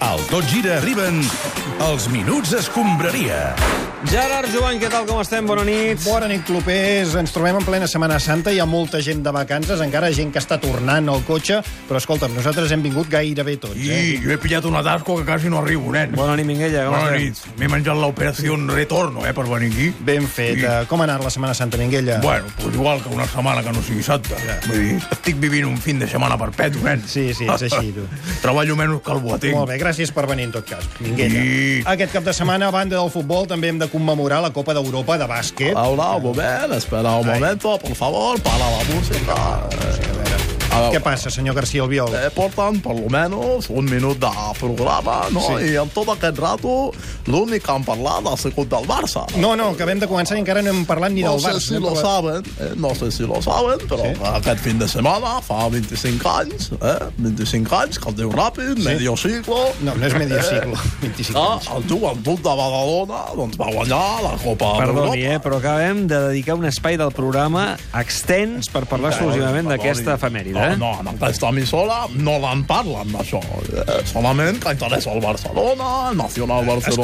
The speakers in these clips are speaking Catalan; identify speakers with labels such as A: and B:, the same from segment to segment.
A: Al Tot Gira arriben els Minuts Escombraria.
B: Gerard Joan, què tal, com estem? Bona nit.
C: Bona nit, clubers. Ens trobem en plena Setmana Santa. Hi ha molta gent de vacances, encara gent que està tornant al cotxe. Però, escolta'm, nosaltres hem vingut gairebé tots, eh?
D: I jo he pillat una tasco que quasi no arribo, nen.
B: Bona nit, Minguella. Com
D: Bona
B: estem?
D: nit. M'he menjat l'operació en retorno, eh, per venir aquí.
C: Ben fet.
D: I-
C: Eh, Com ha anat la Setmana Santa, Minguella?
D: Bueno, pues igual que una setmana que no sigui santa. Vull dir, estic vivint un fin de setmana perpetu, nen.
C: Sí, sí, és així, tu.
D: Treballo menys que el Boateng.
C: Molt bé, gràcies per venir, en tot cas, Minguella.
D: I-
C: Aquest cap de setmana, a banda del futbol, també hem de commemorar la Copa d'Europa de bàsquet.
E: Hola, un moment, espera un momento, por favor, para la música.
C: A veure,
E: A veure.
C: Què passa, senyor García Albiol?
E: Eh, porten per lo menos un minut de programa, no?
C: Sí.
E: Sí. I en tot aquest rato l'únic que han parlat ha sigut del Barça.
C: No, no, acabem de començar i encara no hem parlat ni
E: No
C: del
E: sé
C: Barça.
E: si
C: no hem
E: lo
C: parlat-
E: saben, eh? no sé si lo saben, però
C: Sí.
E: sí. aquest fin de setmana fa 25 anys, eh? 25 anys, que el diu ràpid, sí. medio siglo...
C: No, no és medio siglo, 25
E: Ah,
C: anys.
E: el joventut de Badalona doncs, va guanyar la Copa
B: Perdoni,
E: d'Europa.
B: eh, però acabem de dedicar un espai del programa extens per parlar exclusivament d'aquesta efemèride. eh?
E: No, no, en aquesta emissora no en parlen, d'això. Eh, Solament que interessa el Barcelona, el Nacional
C: Escolti'm,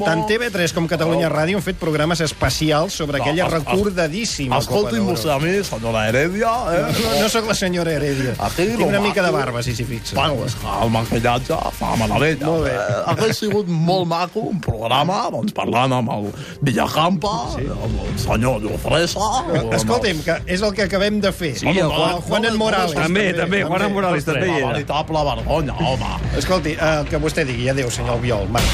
E: Barcelonismo...
C: tant TV3 com Catalunya
E: Oh.
C: Ràdio han fet programes especials sobre
E: No,
C: aquella
E: es- es-
C: recordadíssima Copa
E: Escolti'm vostè
C: d'Europa.
E: a mi, senyora Heredia, eh?
C: No, no sóc la senyora Heredia.
E: Aquí
C: Tinc
E: lo
C: una mica de
E: maco.
C: barba, si s'hi fixa.
E: Bueno, és que el maquillatge fa meravella.
C: Molt bé.
E: Eh, hauria sigut molt maco un programa doncs, parlant amb el Villacampa, sí. amb el senyor Llofresa... amb el-
C: Escolti'm, que és el que acabem de fer.
B: el
C: el
B: Juan-
C: Juanen Morales.
B: També, també, Juan en Morales també
E: La
B: hi era.
E: veritable vergonya, home.
C: Escolti, eh, el que vostè digui. Adéu, senyor Albiol. Marx.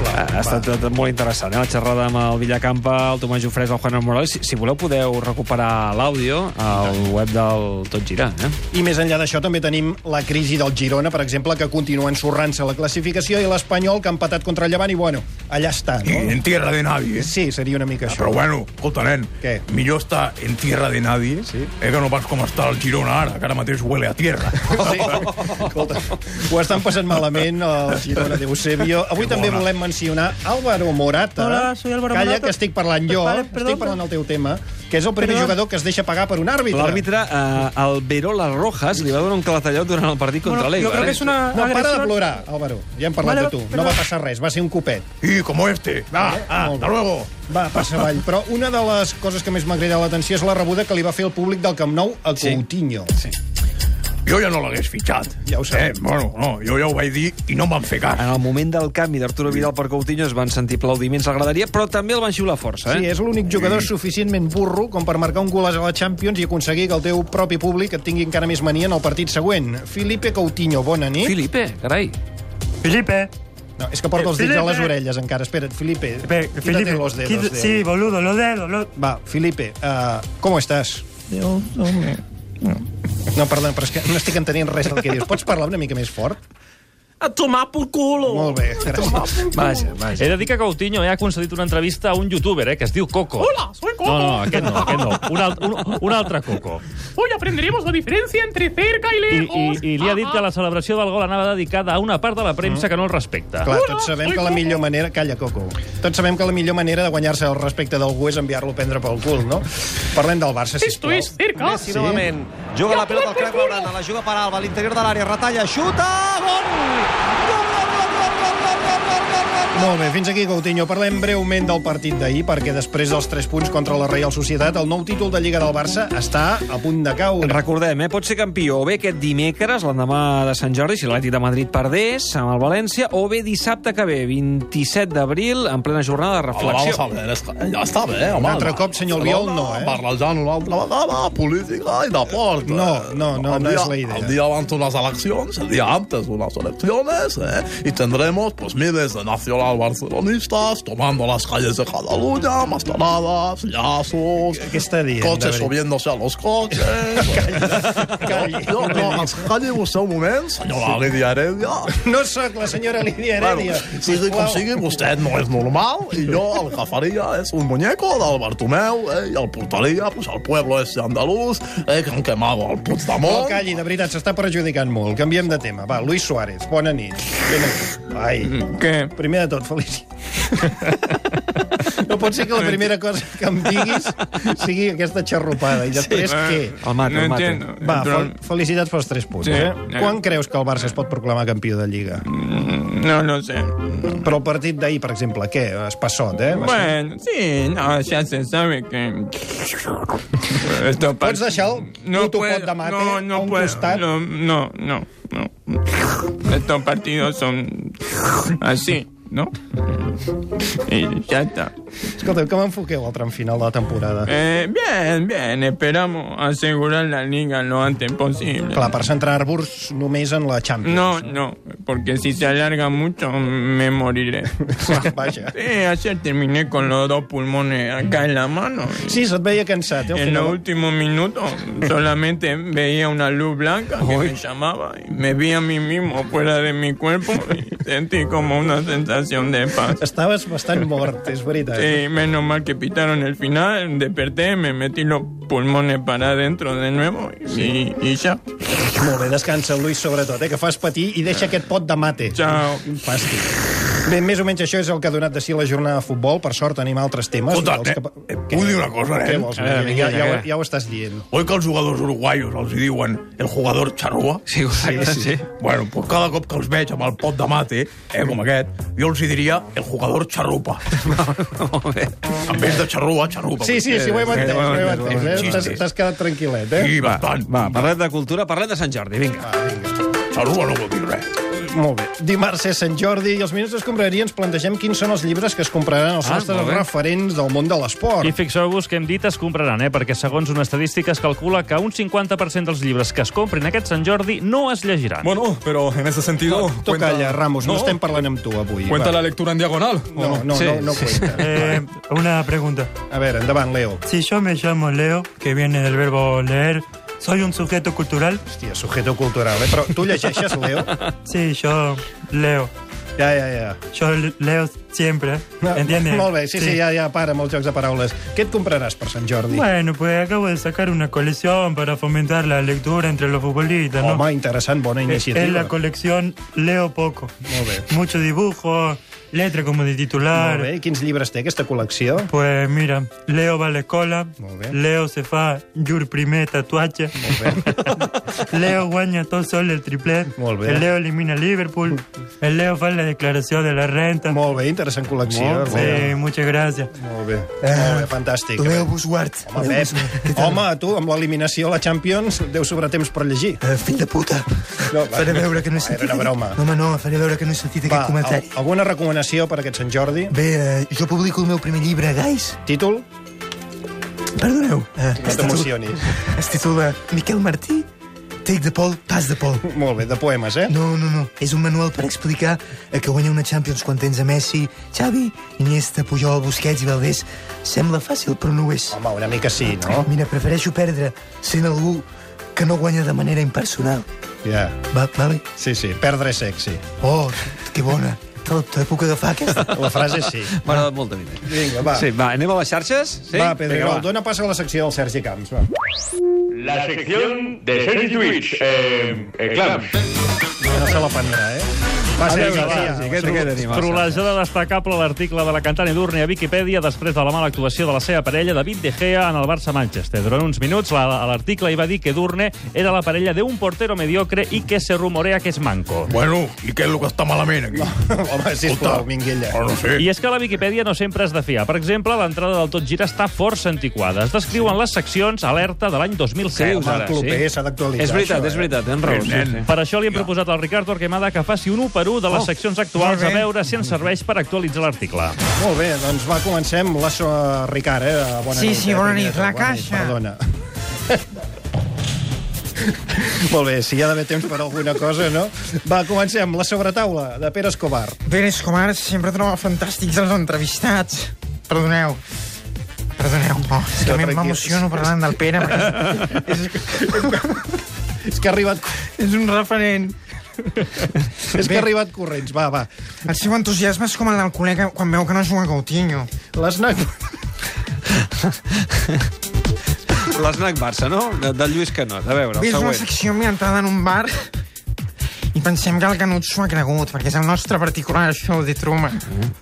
B: Ah, Ha estat tot molt interessant, eh? la xerrada amb el Villacampa, el Tomàs Jofrés, el Juan Morales. Si, si voleu, podeu recuperar l'àudio al web del Tot Gira. Eh?
C: I més enllà d'això també tenim la crisi del Girona, per exemple, que continua ensorrant-se la classificació, i l'Espanyol, que ha empatat contra el Llevant, i bueno, allà està,
D: I
C: no?
D: en tierra de nadie, eh?
C: Sí, seria una
B: Ah,
C: mica això.
D: Però bueno, escolta, nen,
C: Què?
D: millor estar en tierra de nadie sí. eh, que no pas com està el Girona ara, que ara mateix huele a tierra.
C: Sí. Escolta, ho estan passant malament el Girona de Eusebio. Avui
D: Que
C: també
D: bona.
C: volem mencionar Álvaro Morata.
F: Hola, soy Álvaro
C: Calla,
F: Morata.
C: que estic parlant jo,
F: Vale,
C: estic
F: perdón.
C: parlant del teu tema, que és el primer
F: Perdón.
C: jugador que es deixa pagar per un àrbitre.
B: L'àrbitre, eh, el Verola Rojas, li va donar un clatallot durant el partit contra
F: Bueno,
B: l'Eibar.
F: yo creo que
B: eh?
F: es una
C: No, para de
F: agresión.
C: plorar, Álvaro. Ja hem parlat
F: Vale,
C: de tu. No
F: perdón.
C: va passar res, va ser un copet.
D: I com este. Va, ah,
C: Molt bé.
D: hasta luego.
C: Va, passa avall. Però una de les coses que més m'ha cridat l'atenció és la rebuda que li va fer el públic del Camp Nou a
B: Sí.
C: Coutinho. Sí.
D: Jo ja no l'hagués fitxat.
C: Ja ho sabem.
D: Eh, bueno, no, jo ja ho vaig dir i no em van fer cas.
B: En el moment del canvi d'Arturo Vidal per Coutinho es van sentir aplaudiments a la graderia, però també el van xiular força,
C: Sí,
B: eh?
C: és l'únic jugador suficientment burro com per marcar un gol a la Champions i aconseguir que el teu propi públic et tingui encara més mania en el partit següent. Felipe Coutinho, bona nit.
B: Felipe, carai.
F: Felipe.
C: No, és que porta els
F: Eh,
C: dits a les
F: Felipe.
C: orelles encara. Espera't, Felipe,
F: Pe-
C: quítate
F: Felipe.
C: los dedos.
F: Quit-
C: de
F: sí,
C: ahí.
F: boludo, los dedos. Los...
C: Va, Felipe, uh, com estàs? No, perdona, però és que no estic entenent res del que dius. Pots parlar una mica més fort?
G: A tomar por culo.
C: Molt bé, gràcies.
B: Vaja, vaja.
H: He de dir que Coutinho ja ha concedit una entrevista a un youtuber, eh, que es diu Coco. Hola, soy Coco. No, no, aquest no, aquest no. Un, alt, un, un altre Coco.
G: Hoy aprenderemos la diferencia entre cerca y
H: I,
G: lejos.
H: i, I li ha dit que la celebració del gol anava dedicada a una part de la premsa que no el respecta.
C: Mm. Clar, tots sabem que la millor manera... Calla, Coco. Tots sabem que la millor manera de guanyar-se el respecte d'algú és enviar-lo a prendre pel cul, no? Parlem del Barça,
G: Esto
C: sisplau.
G: es cerca.
C: Sí.
I: Novament, juga la pelota al Crec Laurana, la juga per Alba, a l'interior de l'àrea, retalla, xuta, gol! Gol, gol, gol, gol, gol, gol, gol, gol, gol, gol!
C: Molt bé, fins aquí, Coutinho. Parlem breument del partit d'ahir, perquè després dels 3 punts contra la Reial Societat, el nou títol de Lliga del Barça està a punt de caure.
B: Recordem, eh, pot ser campió o bé aquest dimecres, l'endemà de Sant Jordi, si l'Atlètic de Madrid perdés amb el València, o bé dissabte que ve, 27 d'abril, en plena jornada de
E: Home, vamos
B: reflexió.
E: a ver, és que eh, ja està bé, home.
C: Un altre cop, senyor Albiol, no, eh?
E: Barrejant una altra vegada, política i deport. eh?
C: No, no, no,
E: El
C: no
E: dia-
C: és la idea.
E: El dia abans unes eleccions, el dia antes unas elecciones, eh? Y tendremos, pues, miles de nacional barcelonistas tomando las calles de Cataluña, mastanadas, llaços...
C: Aquesta dient,
E: Cotxes
C: de veritat.
E: subiéndose a los cotxes...
C: calli.
E: No, no, no, es calli vostè un moment, senyora Lídia Heredia.
C: No sóc la senyora Lídia Heredia.
E: Bueno, sigui com
C: sisplau.
E: sigui, vostè no és normal i jo el que faria és un muñeco del Bartomeu eh, i el portaria pues, al pueblo ese andalús eh, que han quemado el
C: No,
E: Puigdemont.
C: calli, de veritat, s'està perjudicant molt. Canviem de tema. Va, Luis Suárez, bona nit. Bona nit. Ai,
D: Què?
C: primer de tot, feliç. No pot ser que la primera cosa que em diguis sigui aquesta xarrupada. I després sí, què?
B: El mate,
D: no
B: el mate.
D: entiendo.
C: Va,
D: Pero-
C: fel felicitats pels tres punts.
D: Eh, Sí. Mm.
C: Eh? Quan creus que el Barça es pot proclamar campió de Lliga?
D: No lo sé.
C: Però el partit d'ahir, per exemple, què? Es passot, eh? Va ser-
D: Bueno, sí, no, ya se sabe que... Esto
C: Pots deixar el
D: no
C: puto
D: puedo,
C: pot de mate
D: no, no
C: a un
D: puedo,
C: costat?
D: No, no, no, no. Estos partidos son así, ¿no? Y ya está.
C: Escolta'm, com enfoqueu el tram final de la temporada?
D: Eh, bien, bien, esperamos asegurar la liga lo antes posible.
C: Clar, per centrar-vos només en la Champions.
D: No, no, porque si se alarga mucho me moriré.
C: Vaja.
D: Sí, ayer terminé con los dos pulmones acá en la mano.
C: Sí, se't veia cansat, eh? al
D: En los
C: final.
D: últimos minutos solamente veía una luz blanca que me llamaba y me vi a mí mismo fuera de mi cuerpo y sentí como una sensación de paz.
C: Estaves bastant mort, és veritat.
D: Sí, menos mal que pitaron el final, desperté, me metí los pulmones para adentro de nuevo y, y ya.
C: Molt bé, descansa, Luis, sobretot, eh? que fas patir i deixa aquest pot de mate.
D: Chao.
C: Fàstic. Bé, més o menys això és el que ha donat de si la jornada de futbol. Per sort tenim altres temes.
E: Escolta,
C: Els
E: eh, vull dir una cosa, eh?
C: Què
E: nen?
C: vols?
E: A
C: Ja,
E: veure,
C: ja,
E: vinga,
C: ja, ho,
E: vinga.
C: ja ho estàs dient.
E: Oi que els jugadors uruguaios els hi diuen el jugador xarrua?
B: Sí, exacte, sí. sí.
E: Bueno, pues cada cop que els veig amb el pot de mate, eh, com aquest, jo els hi diria el jugador xarrupa.
B: Molt bé.
E: En vez de xarrua, xarrupa.
C: Sí, sí, sí, ho he entès. Ho he entès eh?
E: entès.
C: T'has- T'has quedat tranquil·let, eh?
E: Sí, bastant.
B: Va, parlem de cultura, parlem de Sant Jordi, vinga.
E: Xarrupa no vol dir res.
C: Molt bé. Dimarts és Sant Jordi i els Minuts d'Escombraria ens plantegem quins són els llibres que es compraran els
B: Ah,
C: nostres
B: molt bé.
C: referents del món de
H: I
C: l'esport.
H: fixeu-vos que hem dit es compraran, eh? perquè segons una estadística es calcula que un 50% dels llibres que es comprin aquest Sant Jordi no es llegiran.
J: Bueno, pero en ese sentido...
C: Tu
J: cuenta-
C: calla, Ramos, no,
J: No,
C: estem parlant amb tu avui.
J: ¿Cuenta
C: Va.
J: la lectura en diagonal? ¿o
C: No, no,
B: Sí,
C: no, no cuenta.
F: Eh, una pregunta.
C: A veure, endavant, Leo.
F: Si yo me llamo Leo, que viene del verbo leer, ¿soy un sujeto cultural?
C: Hòstia, sujeto cultural, eh? Però tu llegeixes, Leo?
F: Sí, yo leo.
C: Ja, ja, ja.
F: Yo leo siempre.
B: Ah,
C: No,
F: ¿Entiendes?
C: Molt bé, sí, sí, ja, ja, para amb els jocs de paraules. Què et compraràs per Sant Jordi?
F: Bueno, pues acabo de sacar una colección para fomentar la lectura entre los futbolistas, ¿no?
C: Home, interessant, bona
F: Es
C: Oh, iniciativa.
F: es Eh, la colección Leo Poco.
C: Molt bé.
F: Mucho dibujo, letra como de
C: Molt bé,
F: titular.
C: i quins llibres té aquesta col·lecció?
F: Pues mira, Leo va a la escola,
C: Molt bé.
F: Leo se fa your primer tatuatge, Leo guanya tot sol el triplet,
C: Molt bé.
F: el Leo elimina Liverpool, el Leo fa la declaració de la renta.
C: Molt bé, interessant col·lecció.
F: sí, muchas gracias.
C: Molt bé, molt bé, fantàstic.
J: Eh, Leo Buswart.
C: Home, Pep, home, tu, amb l'eliminació a la Champions, deu sobre temps per llegir.
J: Eh, fill de puta.
C: No, va.
J: faré veure que no he
C: Va,
J: sentit...
C: era una broma.
J: No, home, no, faré veure que no he sentit
C: Va,
J: aquest comentari.
C: al- alguna recomanació per aquest Sant Jordi?
J: Bé, eh, jo publico el meu primer llibre, guys.
C: Títol?
J: Perdoneu. Eh,
C: No t'emocionis.
J: Es titula Miquel Martí, Take the Pol, Pas de Pol.
C: Molt bé, de poemes, eh?
J: No, no, no. És un manual per explicar eh, que guanyar una Champions quan tens a Messi, Xavi, Iniesta, Pujol, Busquets i Valdés sembla fàcil, però no ho és.
C: Home, una mica sí, no?
J: Mira, prefereixo perdre sent algú que no guanya de manera impersonal.
C: Ja,
J: Va, vale?
C: sí, sí, perdre és sexy.
J: Oh, que bona. Te la, te la puc agafar, aquesta?
C: La frase sí.
B: M'ha agradat molt de mi.
C: Vinga, va.
B: Sí, va, anem a les xarxes? Sí?
C: Ah. Va,
B: Vinga,
C: Pedrerol,
B: va.
C: dona pas a la secció del Sergi Camps, va.
K: La sección de Sergi Twitch. Eh, eh, clams.
C: No se la prendrà, eh? Va, Sergi,
B: Vinga, va,
C: va,
B: sí, què- què tenim, les
H: Trolejada destacable a l'article de la cantant Edurne a Viquipèdia després de la mala actuació de la seva parella David De Gea en el Barça-Manchester. Durant uns minuts, la- a l'article hi va dir que Edurne era la parella d'un portero mediocre i que se rumorea que és manco.
E: Bueno, i què és el que està malament aquí?
C: Home, sisplau, Minguella.
J: Oh,
E: Però no sé.
H: I és que la Viquipèdia no sempre és de fiar. Per exemple, l'entrada del Tot Gira està força antiquada. Es descriuen les seccions alerta de l'any 2016.
B: Sí,
C: El
B: Ara,
C: club
B: sí.
C: s'ha d'actualitzar.
B: És veritat,
C: això,
B: és
C: eh?
B: veritat, tens raó. Sí, sí.
H: Per això li hem proposat al Ricard Torquemada que faci un 1 per 1 de les seccions actuals a
D: molt bé.
H: veure si ens serveix per actualitzar l'article.
C: Molt bé, doncs va, comencem. La so... Ricard, eh? Bona
L: Sí,
C: nit.
L: sí,
C: eh,
L: bona
C: primer
L: nit,
C: de tot.
L: la
C: Bona nit,
L: caixa.
C: Perdona. Molt bé, si hi ha d'haver temps per alguna cosa, no? Va, comencem. La sobretaula, de Pere Escobar.
L: Pere Escobar sempre troba fantàstics els entrevistats. Perdoneu. Perdoneu, no, és que
C: tranquil.
L: m'emociono parlant del Pere, perquè és,
C: És que ha arribat,
L: és un referent.
C: és que ha arribat corrents, va, va.
L: El seu entusiasme és com el del col·lega quan veu que no juga Coutinho.
C: L'esnac...
B: L'esnac Barça, no? De, del Lluís Canot. A veure, el
L: És una
B: següent.
L: secció ambientada en un bar i I pensem que el Canut s'ho ha cregut, perquè és el nostre particular show de Truman.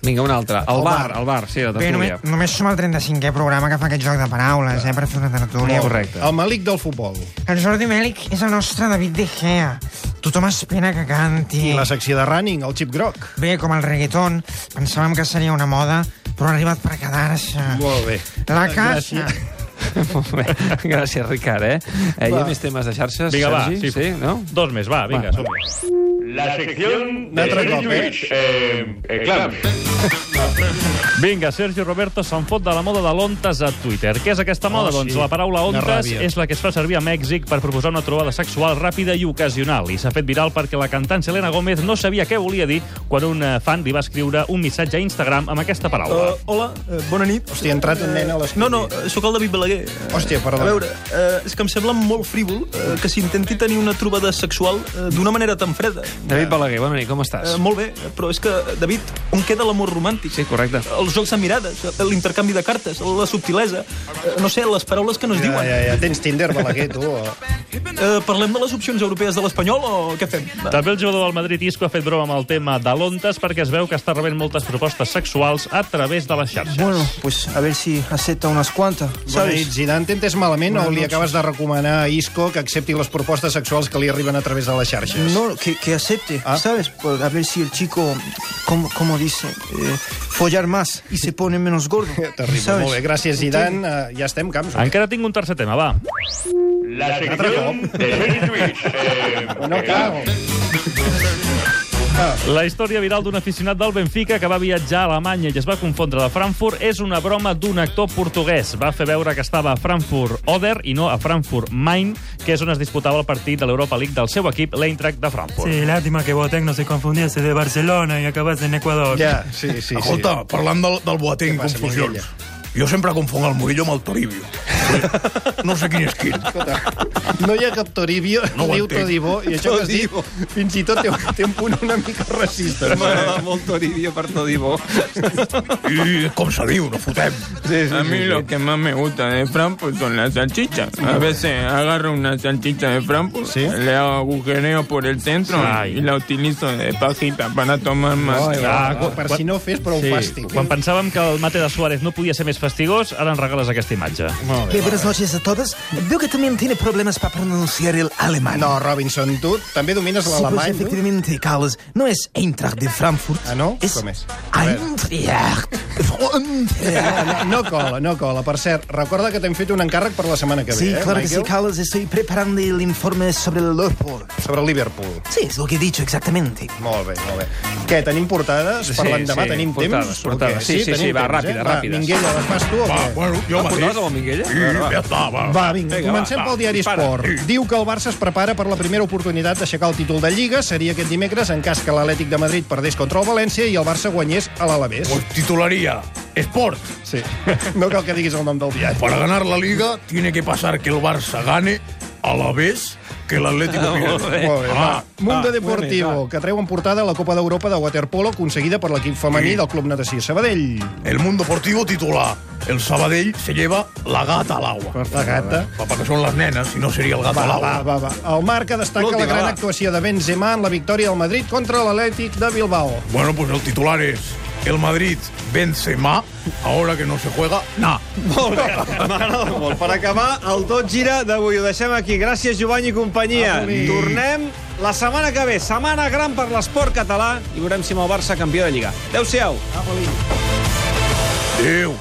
B: Vinga, un altre. El,
L: El
B: bar,
L: bar.
B: el bar, sí, la
L: Bé, només,
B: tertúlia.
L: només som el 35è programa que fa aquest joc de paraules, eh, per fer una tertúlia.
C: El malic del futbol.
L: El Jordi Mèlic és el nostre David De Gea. Tothom espera que canti.
C: I la secció de running, el xip groc.
L: Bé, com el reggaeton, pensàvem que seria una moda, però ha arribat per quedar-se.
C: Molt bé.
L: La
C: Gràcies.
L: caixa.
B: Molt bé. Gràcies, Ricard, eh? eh hi
H: Va.
B: ha més temes de xarxes,
H: Vinga, va,
B: Sergi?
H: sí.
B: sí, no?
H: Dos més, va, vinga, som
K: La sección de
H: Otra
K: Sergi
H: copa, ¿eh?
K: Lluís, eh, eh, Clam.
H: Vinga, Sergi Roberto se'n fot de la moda de l'ontes a Twitter. Què és aquesta moda?
B: Oh, sí.
H: Doncs la paraula
B: Quina
H: ontes
B: ràbia.
H: és la que es fa servir a Mèxic per proposar una trobada sexual ràpida i ocasional. I s'ha fet viral perquè la cantant Selena Gómez no sabia què volia dir quan un eh, fan li va escriure un missatge a Instagram amb aquesta paraula.
B: Oh.
M: Uh, hola, uh, bona nit.
C: Hòstia, ha entrat un nen a
M: l'estudi. No, no, eh, sóc el David Balaguer.
C: Hòstia, perdó.
M: A veure, uh, és que em sembla molt frívol uh, que s'intenti tenir una trobada sexual uh, d'una manera tan freda.
B: David Balaguer, bona nit, com estàs?
M: Uh,
E: Eh,
M: molt bé, però és que, David, on queda l'amor romàntic?
B: Sí, correcte.
M: Els jocs de mirades, eh, l'intercanvi de cartes, la subtilesa, eh, no sé, les paraules que no es diuen.
C: Ja, ja, tens Tinder, Balaguer, tu. o-
M: Eh, parlem de les opcions europees de l'Espanyol o què fem? Va.
H: També el jugador del Madrid Isco ha fet broma amb el tema de l'ontes perquè es veu que està rebent moltes propostes sexuals a través de les xarxes.
L: Bueno,
M: pues a ver si acepta
L: unas cuantas,
C: Bona nit, Zidane, t'entens malament o
L: Buenas
C: li
L: noches.
C: acabes de recomanar a Isco que accepti les propostes sexuals que li arriben a través de les xarxes?
L: No, que, que acepte,
C: Ah.
L: ¿sabes? Por- a ver si el chico, como, como dice, eh, follar más y se pone menos gordo.
C: Terrible, molt bé, gràcies, Zidane. Eh, ja estem, camps.
H: Encara tinc un tercer tema, va.
K: La
C: Otra
K: sección de Sergi Lluís, eh, eh, Clam.
H: La història viral d'un aficionat del Benfica que va viatjar a Alemanya i es va confondre de Frankfurt és una broma d'un actor portuguès. Va fer veure que estava a Frankfurt-Oder i no a Frankfurt-Main, que és on es disputava el partit de l'Europa League del seu equip, l'Eintracht de Frankfurt.
F: Sí, lástima que Boateng no se confundiese de Barcelona y acabase en Ecuador.
C: Ya, sí, sí.
E: Escolta, sí. Ah, parlant del, del Boateng i confusions, jo sempre confongo el Murillo amb el Toribio. No sé quin és quin.
C: No hi ha cap Toribio,
E: No
C: no
E: ho
C: diu
E: entenc.
C: Todibó, i això que es diu, fins i tot té, un- té un punt una mica racista.
D: M'agrada molt Toribio per Todibó.
E: I com se diu, no fotem.
D: a mí lo que más me gusta de Frankfurt son las salchichas. A veces agarro una salchicha de Frankfurt, le hago agujereo por el centro y la utilizo de pajita para tomar más.
H: Ah, quan-
C: Per si no fes prou
H: Sí,
C: fàstic.
H: quan pensàvem que el mate de Suárez no podia ser més fastigós, ara ens regales aquesta imatge.
J: Bé, buenas noches a todos. Veo que también tiene problemas para pronunciar el alemán.
C: No, Robinson, tu també domines
J: Sí, pues
C: l'alemany, tu?
J: efectivamente, Carlos, no es Eintracht de Frankfurt.
C: Ah, no?
J: Es
C: Com és? A veure.
J: Eintracht.
C: No, no cola, no cola. Per cert, recorda que t'hem fet un encàrrec per la setmana que
J: Sí,
C: ve, eh,
J: claro que sí,
C: Michael?
J: Carlos. Estoy preparando el informe sobre el Liverpool.
C: Sobre el Liverpool.
J: Sí, es lo que he dicho exactamente.
C: Molt bé, molt bé. Què, tenim portades?
J: Sí,
C: Per l'endemà
J: sí,
C: tenim
J: portades,
C: temps?
J: portades.
C: O què?
J: Sí, sí,
C: tenim
J: sí, va,
C: temps, eh?
J: ràpida, ràpida.
C: Va, Minguella, les fas tu o què?
J: Va, bueno, jo Ah, mateix. portades
B: amb el eh? Minguella?
J: Sí, Vinga, va. ja està, va.
C: Va, vinga,
J: Vinga, va,
C: comencem
J: va,
C: pel diari
J: dispara.
C: Esport. Diu que el Barça es prepara per la primera oportunitat d'aixecar el títol de Lliga. Seria aquest dimecres en cas que l'Atlètic de Madrid perdés contra el València i el Barça guanyés a l'Alavés.
E: Titularia, Sport.
C: Sí. No cal que diguis el nom del diari.
E: Para ganar la Liga tiene que pasar que el Barça gane a la vez que el Atlético
C: Ah, Molt bé.
E: pierda.
C: Molt bé, va.
E: Ah,
C: Mundo
E: ah,
C: Deportivo, que treu en portada la Copa d'Europa de Waterpolo aconseguida per l'equip femení del Club Natació Sabadell.
E: El Mundo Deportivo titular. El Sabadell se lleva la gata al agua.
C: La gata.
E: Papa, que són les nenes, si no seria el
C: Va,
E: gato al agua.
C: va, va, va. El Marca destaca la
E: L'última,
C: gran
E: va.
C: actuació de Benzema en la victòria del Madrid contra l'Atlètic de Bilbao.
E: Bueno, pues el titular es El Madrid vence más, ahora que no se juega, na.
I: Molt bé, m'agrada molt. Per acabar, el tot gira d'avui. Ho deixem aquí. Gràcies, Jovany i companyia. Tornem la setmana que ve. Setmana gran per l'esport català i veurem si amb el Barça campió de Lliga. Adéu-siau. Adéu.